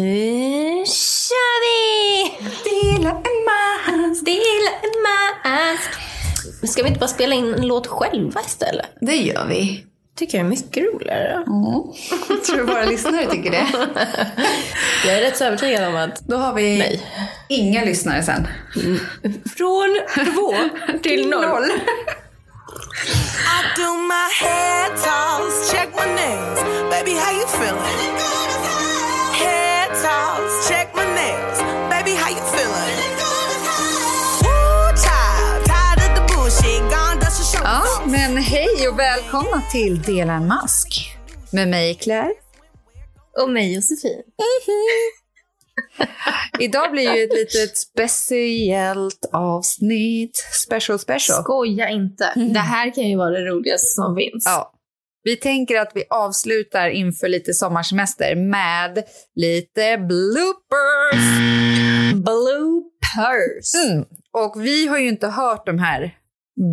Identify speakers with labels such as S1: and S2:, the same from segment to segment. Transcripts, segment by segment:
S1: Nu kör vi!
S2: Dela en mask.
S1: Dela en mask. Ska vi inte bara spela in en låt själva istället?
S2: Det gör vi.
S1: Tycker jag är mycket roligare.
S2: Mm. Tror du våra lyssnare tycker det?
S1: Jag är rätt så övertygad om att
S2: Då har vi
S1: Nej.
S2: inga lyssnare sen.
S1: från två till noll.
S3: I do my hair toss, check my nails. Baby, how you feeling? Hair toss, check my nails. Baby, how you feeling? Woo, child, tired of the bullshit. Gone, dust your
S2: Ja,
S3: shoulders off.
S2: men hej och välkomna till Dela en mask. Med mig Claire.
S1: Och mig Josefin.
S2: Idag blir ju ett litet speciellt avsnitt. Special special.
S1: Skoja inte. Det här kan ju vara det roligaste som finns.
S2: Ja. Vi tänker att vi avslutar inför lite sommarsemester med lite bloopers.
S1: Mm. Bloopers.
S2: Mm. Och vi har ju inte hört de här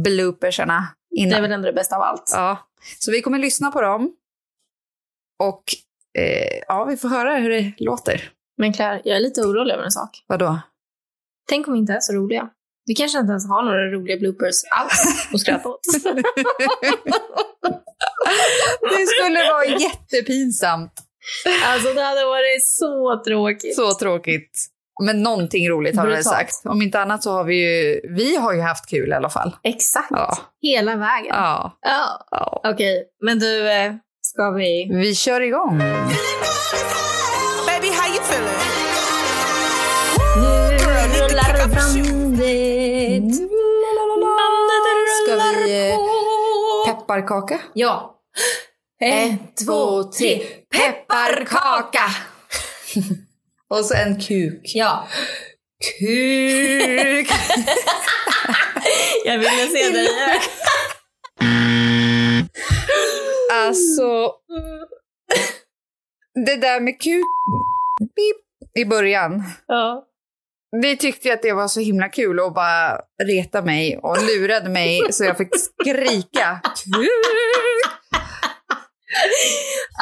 S2: bloopersarna innan.
S1: Det är väl ändå det bästa av allt.
S2: Ja, så vi kommer lyssna på dem. Och eh, ja, vi får höra hur det låter.
S1: Men Claire, jag är lite orolig över en sak.
S2: Vadå?
S1: Tänk om vi inte är så roliga. Vi kanske inte ens har några roliga bloopers alls att skratta åt.
S2: Det skulle vara jättepinsamt.
S1: Alltså det hade varit så tråkigt.
S2: Så tråkigt. Men någonting roligt har vi
S1: Brutalt.
S2: sagt. Om inte annat så har vi ju, vi har ju haft kul i alla fall.
S1: Exakt.
S2: Ja.
S1: Hela vägen.
S2: Ja.
S1: Ja.
S2: ja.
S1: Okej, men du, eh, ska vi...
S2: Vi kör igång.
S3: Baby, how you feeling?
S1: Nu
S3: rullar
S1: bandet.
S2: Ska vi eh, pepparkaka?
S1: Ja.
S2: Ett, två, tre. Pepparkaka! Och så en kuk.
S1: Ja.
S2: Kuk!
S1: Jag ville se dig.
S2: Alltså... Det där med kuk... Beep, I början.
S1: Ja.
S2: Vi tyckte ju att det var så himla kul och bara reta mig och lurade mig så jag fick skrika kuk.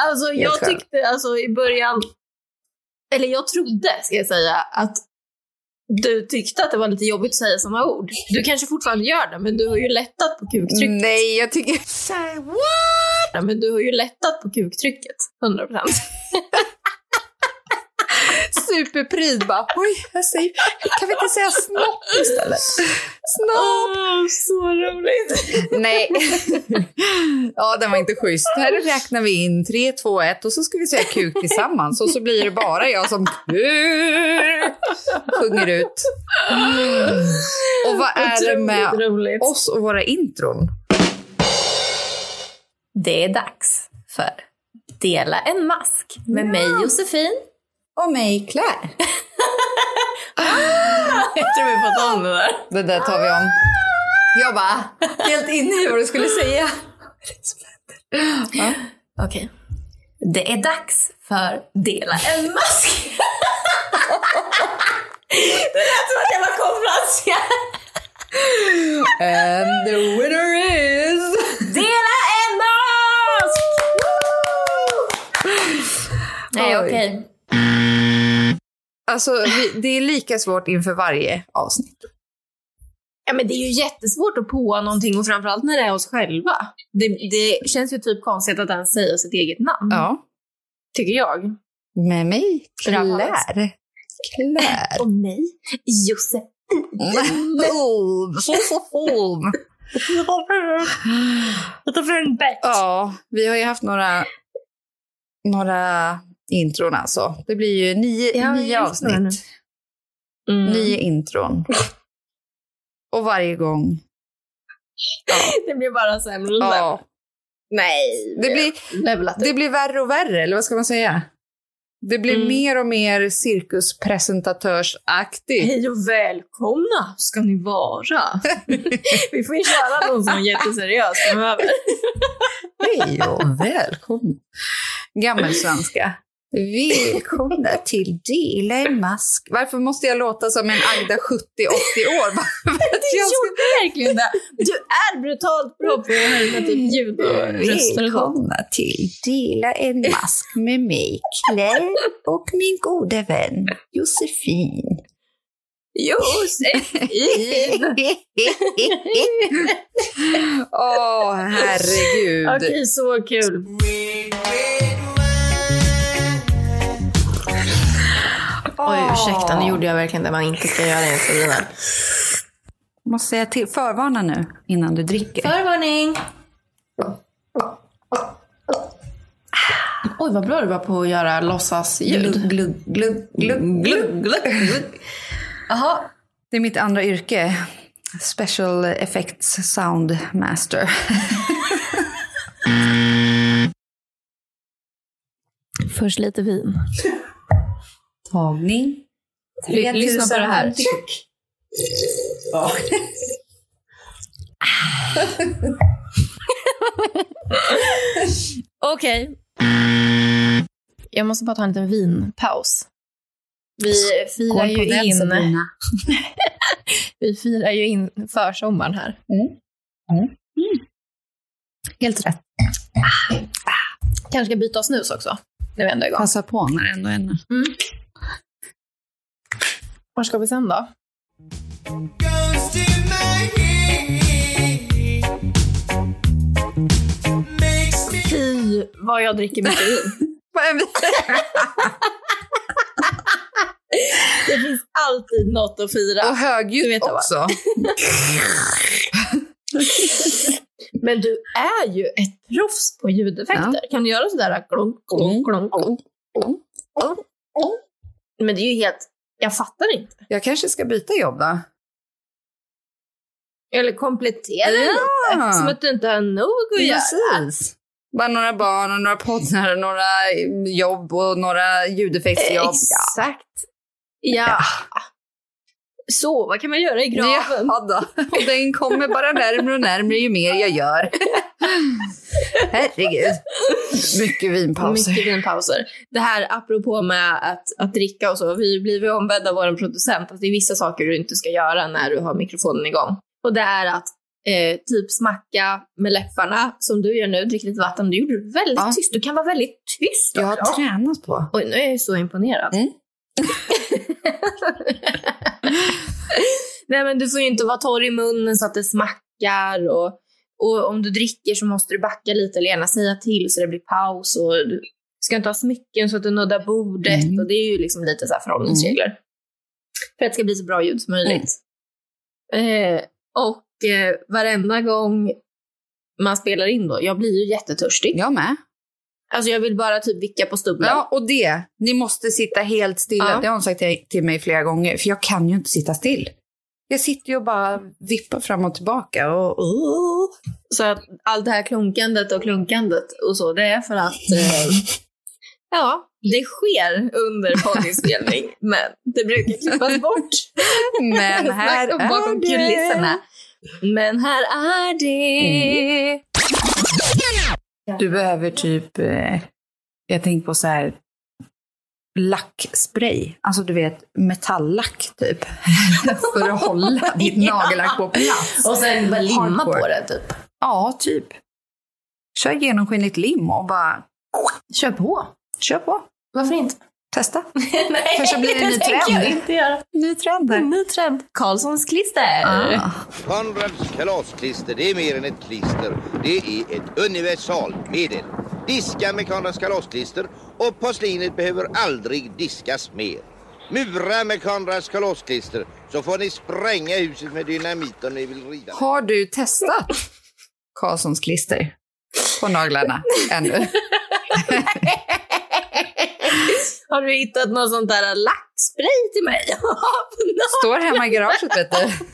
S1: Alltså jag
S2: själv.
S1: tyckte alltså i början, eller jag trodde ska jag säga att du tyckte att det var lite jobbigt att säga sådana ord. Du kanske fortfarande gör det, men du har ju lättat på kuktrycket.
S2: Nej, jag tycker... Mm.
S1: Men du har ju lättat på kuktrycket, 100%.
S2: Superpryd bara. Oj, jag säger... Kan vi inte säga snopp istället? Snopp!
S1: Åh, så roligt!
S2: Nej. ja, den var inte schysst. Här räknar vi in tre, två, ett och så ska vi säga kuk tillsammans och så blir det bara jag som kuk sjunger ut. Och vad är det med
S1: roligt.
S2: oss och våra intron?
S1: Det är dags för Dela en mask med mig Josefin.
S2: Och mig, Claire.
S1: Jag tror vi har fått om det där.
S2: Det där tar vi om. Jag bara, helt inne i vad du skulle säga.
S1: Okej. Det är dags för Dela en mask. det lät som att jag var konferencier.
S2: And the winner is...
S1: Dela en mask! Nej,
S2: Oj.
S1: okej.
S2: Alltså, vi, det är lika svårt inför varje avsnitt.
S1: Ja, men det är ju jättesvårt att påa någonting och framförallt när det är oss själva. Det, det känns ju typ konstigt att ens säga sitt eget namn,
S2: Ja.
S1: tycker jag.
S2: Med mig,
S1: Drabbades.
S2: Claire. Claire.
S1: Och mig, Josef.
S2: Boom! Så, så, boom.
S1: Jag tar från Bert.
S2: Ja, vi har ju haft några, några intron alltså. Det blir ju nio,
S1: Ja,
S2: nio
S1: jag förstår
S2: avsnitt.
S1: Mm.
S2: Nio intron. Och varje gång.
S1: Det blir bara sämre.
S2: Ja,
S1: Nej.
S2: det, blir,
S1: Levelat
S2: det blir värre och värre, eller vad ska man säga? Det blir
S1: Mm.
S2: mer och mer cirkuspresentatörsaktigt.
S1: Hej och välkomna ska ni vara. Vi får ju köra någon som är jätteseriös framöver.
S2: Hej och välkommen. Gammelsvenska. Välkomna till Dela en mask. Varför måste jag låta som en Agda 70-80 år? Bara för att
S1: Du
S2: jag ska-
S1: gjorde verkligen det! Du är brutalt bra på att höja typ ljud och röster och sånt.
S2: Välkomna till Dela en mask med mig, Claire och min gode vän Josefin.
S1: Jo, Josefin!
S2: Åh, herregud.
S1: Okej, så kul. Oj, ursäkta, nu gjorde jag verkligen det man inte ska göra enligt Sabina.
S2: Måste säga till. Förvarna nu innan du dricker.
S1: Förvarning! Oj, vad bra du var på att göra låtsasljud.
S2: Glugg, glugg, glugg, glugg, glugg, glugg.
S1: Jaha,
S2: Det är mitt andra yrke. Special effects sound master.
S1: Först lite vin.
S2: Tagning.
S1: Ly- lyssna på det här. Okej. Jag måste bara ta en liten vinpaus. Vi firar, ju in, vi firar ju in försommaren här.
S2: Helt rätt.
S1: Kanske ska byta snus också, när vi ändå är igång.
S2: Passa på när det ändå är en-
S1: Var ska vi sen då?
S3: Ghost in my head makes me
S1: Fy vad jag dricker mycket vin. Det finns alltid något att fira. Du
S2: Och högljutt
S1: vet jag
S2: också.
S1: Men du är ju ett proffs på ljudeffekter. Kan du göra sådär klonk, klonk, klonk, klonk? Mm. Men det är ju helt... Jag fattar inte.
S2: Jag kanske ska byta jobb då.
S1: Eller komplettera lite. Som att du inte har nog att göra.
S2: Ah, Precis. Bara några barn och några poddar och några jobb och några ljudeffektsjobb.
S1: Exakt. Ja. Så, vad kan man göra i graven?
S2: Ja, då. Och den kommer bara närmre och närmre ju mer jag gör. Herregud. Mycket vinpauser.
S1: Mycket vinpauser. Det här apropå med att, att dricka och så. Vi blev ju ombedda av vår producent att det är vissa saker du inte ska göra när du har mikrofonen igång. Och det är att eh, typ smacka med läpparna som du gör nu, drick lite vatten. Det gjorde du väldigt
S2: Ja.
S1: tyst. Du kan vara väldigt tyst
S2: Jag
S1: också.
S2: har tränat på.
S1: Oj, nu är jag ju så imponerad.
S2: Mm.
S1: Nej, men du får ju inte vara torr i munnen så att det smackar. Och, och om du dricker så måste du backa lite eller gärna säga till så det blir paus. Och du ska inte ha smycken så att du nuddar bordet.
S2: Mm.
S1: Och det är ju liksom lite så här förhållningsregler. För att det ska bli så bra ljud som möjligt.
S2: Mm.
S1: Eh, och eh, varenda gång man spelar in då, jag blir ju jättetörstig.
S2: Jag med.
S1: Alltså jag vill bara typ vicka på stolen.
S2: Ja, och det. Ni måste sitta helt stilla.
S1: Ja.
S2: Det har hon sagt till- till mig flera gånger, för jag kan ju inte sitta still. Jag sitter ju och bara vippar fram och tillbaka och... Åh.
S1: Så att allt det här klunkandet och klunkandet och så, det är för att eh, ja, det sker under poddinspelning, men det brukar klippas bort.
S2: Men
S1: Snacka
S2: här
S1: om bakom
S2: är det.
S1: kulisserna. Men här är det.
S2: Mm. Du behöver typ, eh, jag tänker på så här, lackspray. Alltså du vet, metalllack typ. För att hålla ditt
S1: Ja.
S2: nagellack på plats.
S1: Och sen bara limma
S2: Hardcore.
S1: på det typ.
S2: Ja, typ. Kör genomskinligt lim och bara
S1: Kör på.
S2: kör på.
S1: Varför inte?
S2: Testa.
S1: Nej,
S2: Kanske blir det en ny
S1: tänker
S2: trend.
S1: jag inte göra.
S2: Ny trend
S1: En
S2: här.
S1: ny trend. Karlssons klister.
S2: Ah.
S4: Konrads kalasklister, det är mer än ett klister. Det är ett universalmedel. Diska med Konrads kalasklister och porslinet behöver aldrig diskas mer. Mura med Konrads kalasklister så får ni spränga huset med dynamit om ni vill riva.
S2: Har du testat Karlssons klister på naglarna ännu?
S1: Har du hittat någon sån där lackspray till mig?
S2: Står hemma i garaget vet du.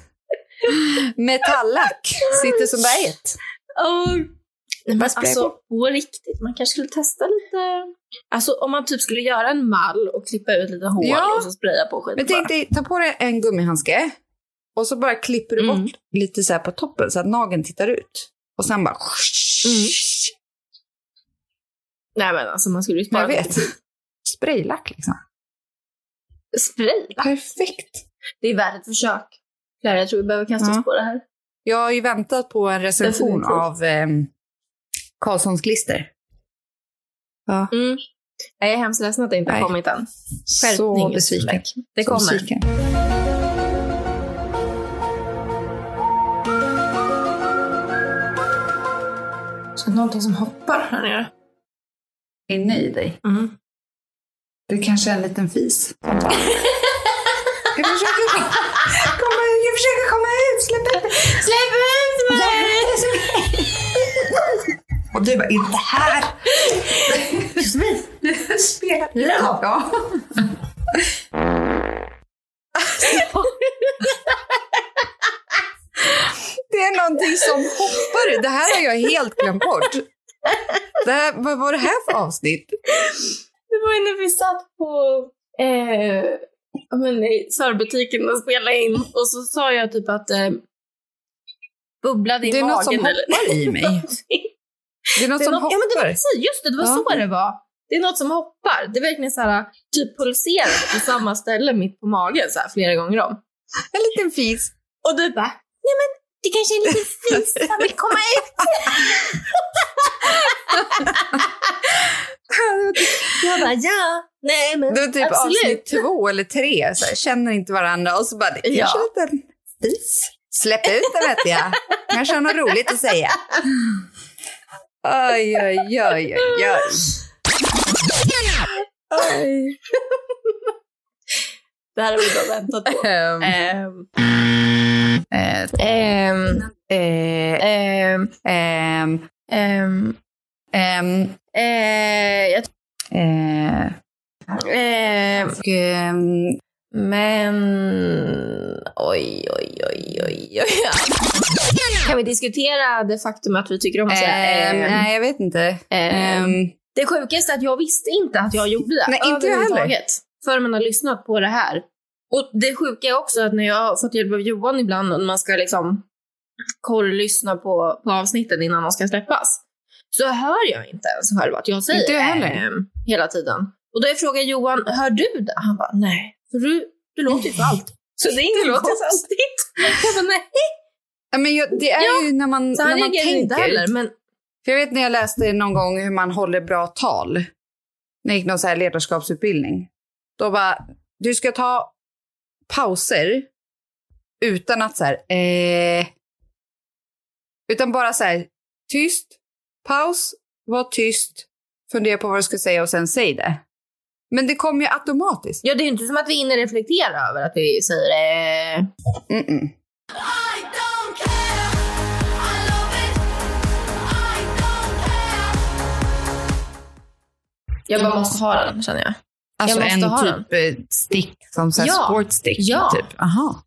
S2: Metalllack, sitter som berget.
S1: Åh, Nej, men
S2: Vad spelar
S1: alltså, på riktigt, man kanske skulle testa lite. Alltså om man typ skulle göra en mall och klippa ut lite hål
S2: Ja.
S1: och så spraya på skiten
S2: Men tänk
S1: bara.
S2: dig, ta på dig en gummihandske och så bara klipper du bort
S1: Mm.
S2: lite så här på toppen så att nageln tittar ut. Och sen bara...
S1: Mm. Nej men alltså man skulle ju spara
S2: Jag vet. spraylack liksom.
S5: Spray?
S2: Perfekt.
S5: Det är värt ett försök. Clara, jag tror vi behöver kasta oss
S2: Ja.
S5: på det här.
S2: Jag har ju väntat på en recension
S5: Definitivt.
S2: av eh, Karlssons klister. Ja,
S5: Mm. Nej, Jag är hemskt ledsen att det inte har
S2: Nej.
S5: kommit än.
S2: så
S5: Skärpning,
S2: besviken.
S5: Justin Beck. Det
S2: Så
S5: kommer.
S2: besviken.
S5: Så någonting som hoppar här nere.
S2: Inne i dig.
S5: Mm.
S2: Det kanske är en liten fis. jag, försöker komma, jag försöker komma ut, släpp ut
S5: Släpp ut
S2: Och du bara, inte här! Du spelar ja. ja. Det är någonting som hoppar. Det här har jag helt glömt bort. Det här, vad var det här för avsnitt?
S5: Det var ju när vi satt på eh, ja, men, i sörbutiken och spelade in och så sa jag typ att eh, bubblade i
S2: Det är
S5: magen.
S2: något som
S5: eller...
S2: hoppar i mig. Det är något
S5: Det är
S2: som
S5: något, ja, men det var
S2: hoppar.
S5: precis, just det, det var
S2: Ja.
S5: så det var. Det är något som hoppar. Det är verkligen så här, typ pulserar på samma ställe mitt på magen så här, flera gånger om.
S2: En liten fis.
S5: Och du bara, nej men det kanske är en liten fis som vill komma ut. Jag bara, ja, nej men
S2: Det var typ
S5: absolut.
S2: avsnitt två eller tre. Så här, känner inte varandra och så bara, det kanske
S5: Ja.
S2: är en liten fis. Släpp ut den vet jag. Kanske har något roligt att säga. Oj, oj, oj, oj, oj.
S5: Det här har vi bara väntat på.
S2: Ehm,
S5: Ehm,
S2: eh,
S5: ehm,
S2: eh,
S5: ehm,
S2: ehm,
S5: ehm,
S2: ehm,
S5: eh, jag-
S2: eh,
S5: ehm,
S2: och, ehm,
S5: Men...
S1: Mm,
S5: Oj, oj, oj, oj, oj. Kan vi diskutera det faktum att vi tycker om att säga
S2: ehm,
S5: ehm,
S2: Nej, jag vet inte.
S5: ehm.
S2: Ehm,
S5: Det sjukaste är att jag visste inte att jag gjorde det.
S2: Nej, inte jag
S5: överhuvudtaget,
S2: heller.
S5: Förrän man har lyssnat på det här. Och det sjuka är också att när jag har fått hjälp av Johan ibland och man ska liksom korrlyssna på, på avsnitten innan de ska släppas. Så hör jag inte ens själv att jag säger
S2: Inte jag heller.
S5: ehm, hela tiden. Och då frågar Johan, hör du det? Han bara, nej. För du, du låter ju för allt. Så det är
S2: Du
S5: inget
S2: låter för
S5: konstigt. Jag bara, nej.
S2: ja, men jag, det är
S5: Ja,
S2: ju när man,
S5: Så han
S2: när man
S5: reagerar inte
S2: tänker.
S5: heller. Men
S2: För jag vet när jag läste någon gång hur man håller bra tal. När jag gick någon så här ledarskapsutbildning. Då bara, du ska ta pauser utan att så här, eh, utan bara så här, tyst, paus, var tyst, fundera på vad du ska säga och sen säg det. Men det kommer ju automatiskt.
S5: ja, det är ju inte som att vi hinner reflektera över att vi säger eh,
S2: Mm-mm.
S5: Jag bara måste ha den känner jag.
S2: Alltså
S5: måste
S2: en
S5: ha
S2: typ eh, stick, som så här
S5: Ja.
S2: sportstick.
S5: Ja.
S2: Typ. Aha.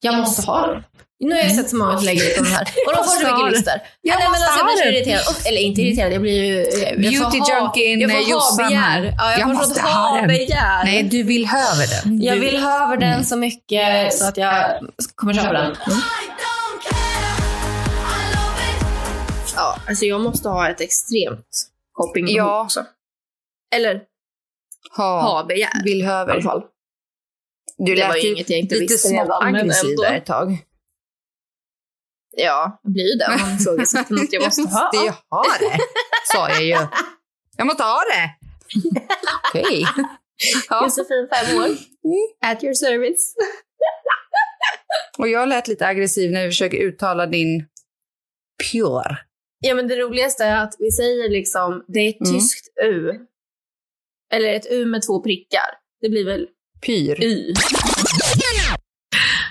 S5: Jag måste ha den. Nu har jag sett så många som lägger ut de här. Och de får
S2: Mm. måste
S5: så
S2: ha den.
S5: mycket lyster.
S2: Jag
S5: Nej, men
S2: måste
S5: alltså, jag
S2: ha
S5: blir så
S2: den.
S5: irriterad. Oh, eller inte irriterad, jag blir ju... eh, jag får
S2: Beauty
S5: ha-
S2: junkin,
S5: Jag får ha
S2: Jossan här.
S5: begär. Ja, jag,
S2: Jag
S5: får
S2: måste
S5: ha,
S2: ha den.
S5: begär.
S2: Nej, du vill höver den.
S5: jag
S2: Du Mm.
S5: vill ha över den så mycket så att jag kommer köpa den. Ja, alltså jag måste ha ett extremt shoppingbehov
S2: Ja.
S5: också. Eller
S2: ha,
S5: ha begär
S2: vill
S5: i alla
S2: höver.
S5: fall.
S2: Du
S5: Det var
S2: lät
S5: ju
S2: ju
S5: inget jag inte
S2: lite
S5: visste redan,
S2: smått
S5: men
S2: aggressiv
S5: ändå.
S2: där ett tag.
S5: Ja, jag blir ju det om man ifrågasätter något jag måste ha.
S2: ju ha det, sa jag ju. Jag måste ha det. Okej. Ja.
S5: Josefin, fem år. At your service.
S2: Och jag lät lite aggressiv när vi försöker uttala din pure.
S5: Ja, men det roligaste är att vi säger liksom, det är ett
S2: Mm.
S5: tyskt U. Eller ett U med två prickar. Det blir väl
S2: Pyr.
S5: Y.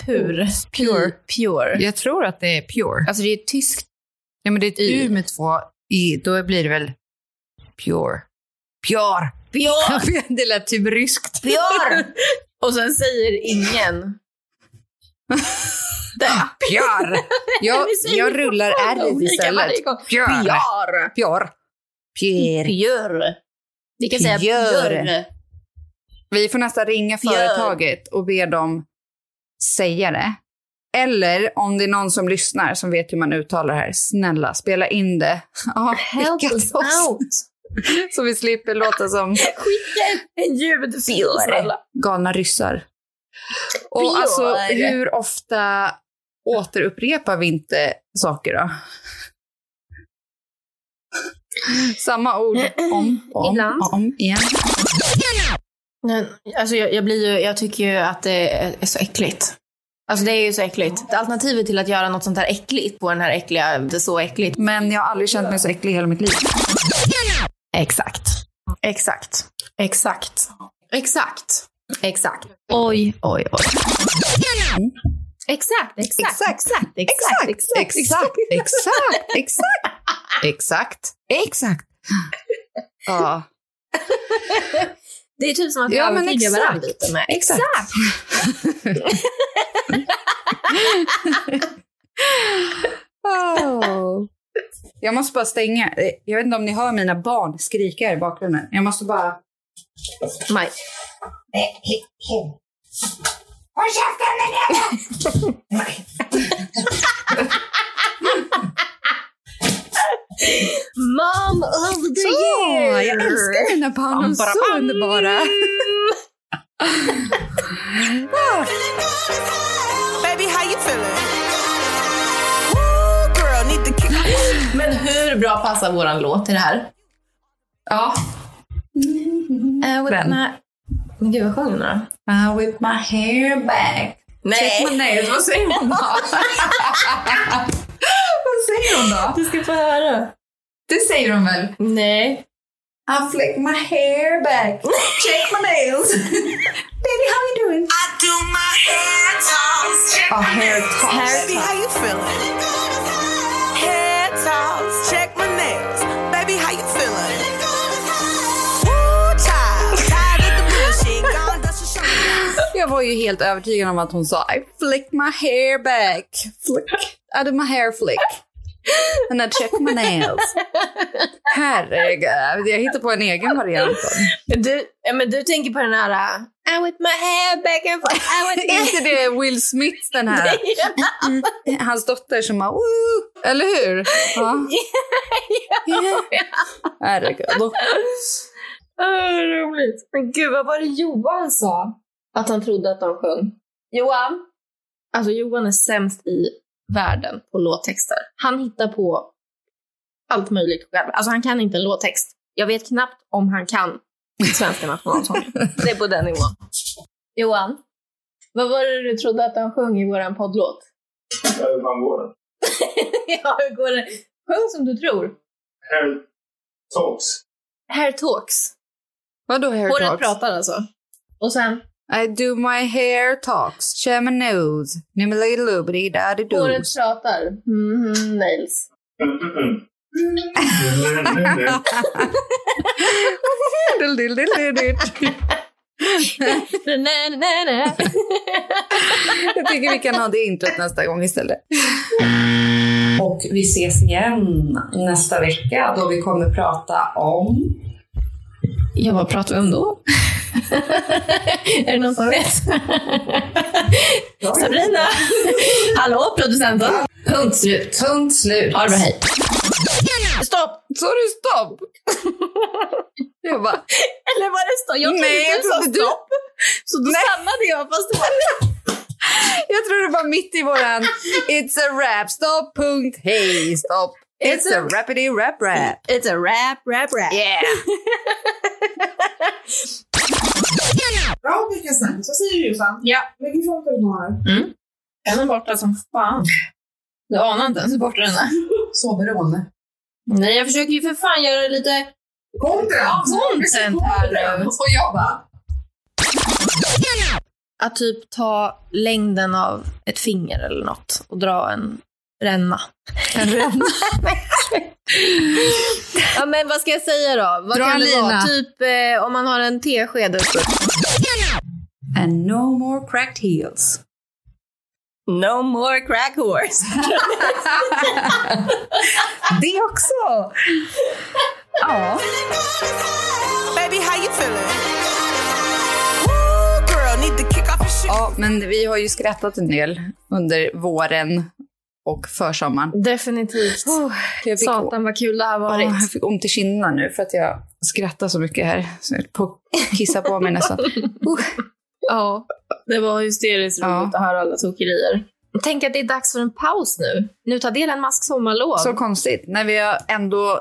S5: Pur.
S2: Pure.
S5: Pure.
S2: Jag tror att det är pure.
S5: Alltså det är tyskt.
S2: Ja, men det är ett
S5: Y.
S2: u med två i. Då blir det väl pure. Pure.
S5: Pure!
S2: det lät typ ryskt.
S5: Pure! Och sen säger ingen. Det.
S2: Pure. Jag,
S5: Vi säger
S2: jag rullar
S5: fortfarande
S2: r
S5: olika
S2: istället.
S5: varje gång.
S2: Pure.
S5: Pure.
S2: Pure. Pure.
S5: Pure. Vi kan säga
S2: Pure.
S5: pure.
S2: Vi får nästan ringa företaget och be dem säga det. Eller om det är någon som lyssnar som vet hur man uttalar det här, snälla spela in det. Ja,
S5: Help
S2: skicka
S5: us
S2: till oss.
S5: out.
S2: Så vi slipper låta som
S5: Skicka en ljudfil snälla.
S2: galna ryssar. Och
S5: Fjol.
S2: alltså, hur ofta återupprepar vi inte saker då? Samma ord om och om,
S5: Ibland.
S2: och om igen.
S5: Nej, Alltså jag, jag, blir ju, jag tycker ju att det är, är så äckligt. Alltså det är ju så äckligt. Alternativet till att göra något sånt här äckligt på den här äckliga, det är så äckligt.
S2: Men jag har aldrig känt mig så äcklig i hela mitt liv.
S5: Exakt. Exakt. Exakt. Exakt. Exakt.
S1: Oj, oj, oj.
S5: Exakt. Exakt.
S2: Exakt.
S5: Exakt. Exakt.
S2: exakt, exakt, exakt, exakt, exakt, exakt. Ja,
S5: Det är typ som att vi
S2: Ja, men
S5: övertygar
S2: exakt.
S5: varandra lite med.
S2: Exakt. Oh. Jag måste bara stänga. Eh, Jag vet inte om ni hör mina barn skrika här i bakgrunden. Jag måste bara...
S5: Maj. Mom oh of the year!
S2: Åh, jag älskar mina barn. De är så underbara.
S3: Baby, how you feeling? Woo, girl, need to kick.
S5: Men hur bra passar våran låt till det här?
S2: Ja.
S5: Uh,
S2: Den.
S5: Men gud, vad sjöng den då?
S2: Uh, with my hair back. Check my nails. Vad säger hon då? Vad säger hon då?
S5: Du ska få höra.
S2: Det säger hon väl?
S5: Nej.
S2: I flick my hair back. Check my nails. Baby, how you doing?
S3: I do my hair toss. Check
S2: A
S3: my
S2: hair
S3: nails.
S2: toss.
S3: Baby, how you feeling? Hair toss. Check my nails. Baby, how you feeling? Woo, child. Tired of the bullshit. Gone, dust your shoulders.
S2: Jag var ju helt övertygad om att hon sa I flick my hair back. Flick. I did my hair flick. And I check my nails. Herregud, jag hittar på en egen variant.
S5: Men du, ja, men du tänker på den här... uh, I with my hair back and forth. I with my...
S2: Inte det Will Smith, den här, hans dotter som bara Woo! Eller hur? Ja. Herregud.
S5: Åh, Äh, roligt. Men gud, vad var det Johan sa? Att han trodde att de sjöng. Johan? Alltså Johan är sämst i världen på låttexter. Han hittar på allt möjligt själv. Alltså han kan inte en låttext. Jag vet knappt om han kan svenska nationalsången. det är på den nivån. Johan, vad var det du trodde att de sjöng i våran poddlåt?
S6: Man går.
S5: ja, hur går det? Sjung som du tror.
S6: Hair talks.
S5: Hair talks.
S2: Vadå hair
S5: Håret
S2: talks?
S5: pratar alltså. Och sen?
S2: I do my hair talks, share my nose, nimmelidilubididadidoos.
S5: Håret pratar. Mhm, nails.
S6: Mm, mm, mm. Mm, mm, mm, mm.
S5: Nej, nej, nej.
S2: Jag tycker vi kan ha det introt nästa gång istället.
S7: Och vi ses igen nästa vecka då vi kommer prata om
S5: Jag bara, pratar vi om då? är det någon som vet? Sabrina! Hallå, producenten! Punkt slut.
S7: Punkt slut.
S5: Ha det bra, hej. Stopp!
S2: Sa du stopp? Jag bara,
S5: Eller var det stopp? Jag trodde
S2: Nej, jag
S5: du sa
S2: trodde du-
S5: stopp. Så då stannade jag fast det var...
S2: jag tror det var mitt i våran It's a rap, stopp, punkt, hej, stopp. It's a rapity rap rap.
S5: It's a rap, rap, rap.
S2: Yeah!
S8: Bra mycket snack. Så säger du Jossan.
S5: Ja.
S8: Lägg ifrån telefonen.
S5: Den är borta som fan. Du anar inte ens hur borta den är.
S8: Så beroende.
S5: Nej, jag försöker ju för fan göra lite
S8: Content!
S5: content här nu.
S8: Och jag bara...
S5: Att typ ta längden av ett finger eller något och dra en ränna. En ränna? ja, men vad ska jag säga då? Vad
S2: Dra
S5: kan
S2: en
S5: det vara?
S2: lina.
S5: Typ eh, om man har en tesked uppe.
S2: And no more cracked heels.
S5: No more crack horse.
S2: Det också! Ja.
S3: Baby, how you feeling? Woo, girl, need to kick off your shoes.
S2: ja, men vi har ju skrattat en del under våren och försommaren.
S5: Definitivt.
S2: Jag fick,
S5: Oh, Satan vad kul det här
S2: Åh,
S5: varit.
S2: jag fick ont i kinderna nu för att jag skrattar så mycket här. Så jag höll på att kissa på mig nästan.
S5: Ja, det var hysteriskt
S2: Ja.
S5: roligt att höra alla tokerier. Tänk att det är dags för en paus nu. Nu tar del en mask sommarlov.
S2: Så konstigt. När vi har ändå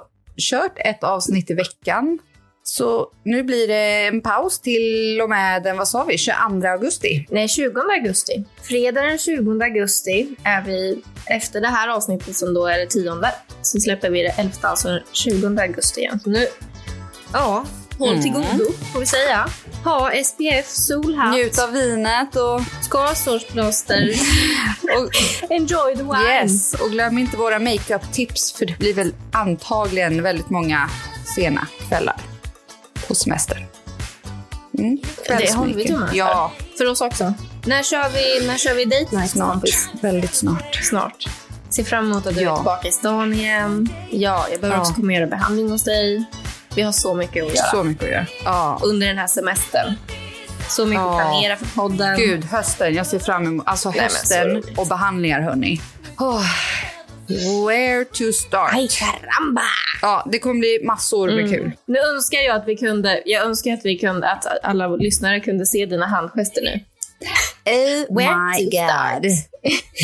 S2: kört ett avsnitt i veckan. Så nu blir det en paus till och med den, vad sa vi, 22 augusti.
S5: Nej, 20 augusti. Fredag den 20 augusti är vi, efter det här avsnittet som då är det 10, så släpper vi det 11, alltså den 20 augusti igen. Så nu, ja, håll till godo får vi säga. Ha SPF, solhatt,
S2: Njut av vinet och,
S5: ska sårsplåster,
S2: och
S5: enjoy the wine.
S2: yes. Och glöm inte våra makeup-tips för det blir väl antagligen väldigt många sena kvällar på semester. Mm.
S5: Det håller vi tummarna för.
S2: Ja,
S5: För oss också. När kör vi, när kör vi date night?
S2: snart.
S5: kompis?
S2: Väldigt snart.
S5: Snart. Se fram emot att du
S2: Ja.
S5: är tillbaka i stan igen. Ja, jag behöver
S2: Ja.
S5: också komma och göra behandling hos dig. Vi har så mycket att göra
S2: Så mycket att göra. Ja.
S5: under den här semestern. Så mycket
S2: Ja.
S5: att planera för podden.
S2: Gud, hösten. Jag ser fram emot alltså
S5: men så
S2: hösten
S5: roligt.
S2: och behandlingar, hörni. Oh. Where to start?
S5: Ay, caramba!
S2: Ja, det kommer bli massor
S5: Mm.
S2: med kul.
S5: Nu önskar jag att vi kunde, jag önskar att vi kunde, att alla lyssnare kunde se dina handgester nu.
S2: Oh
S5: Where to start?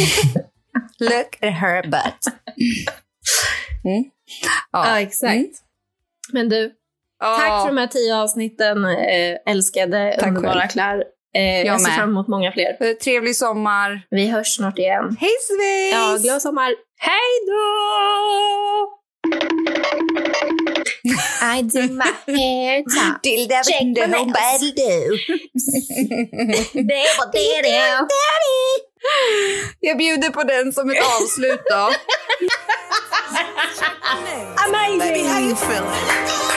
S2: Look at her butt. Mm.
S5: Ja, exakt.
S2: Mm.
S5: Men du,
S2: Ja.
S5: tack för de här tio avsnitten, eh, älskade,
S2: Tack
S5: underbara
S2: själv.
S5: Claire. Eh, jag ser
S2: med.
S5: fram emot många fler.
S2: Eh, Trevlig sommar.
S5: Vi hörs snart igen.
S2: Hej svejs!
S5: Ja, glad sommar. Hej då! I do my hair top.
S2: Dilda
S5: Check my nails.
S2: du.
S5: Det var det det.
S2: Jag bjuder på den som ett avslut då.
S5: Amazing!
S3: Baby, how you feeling?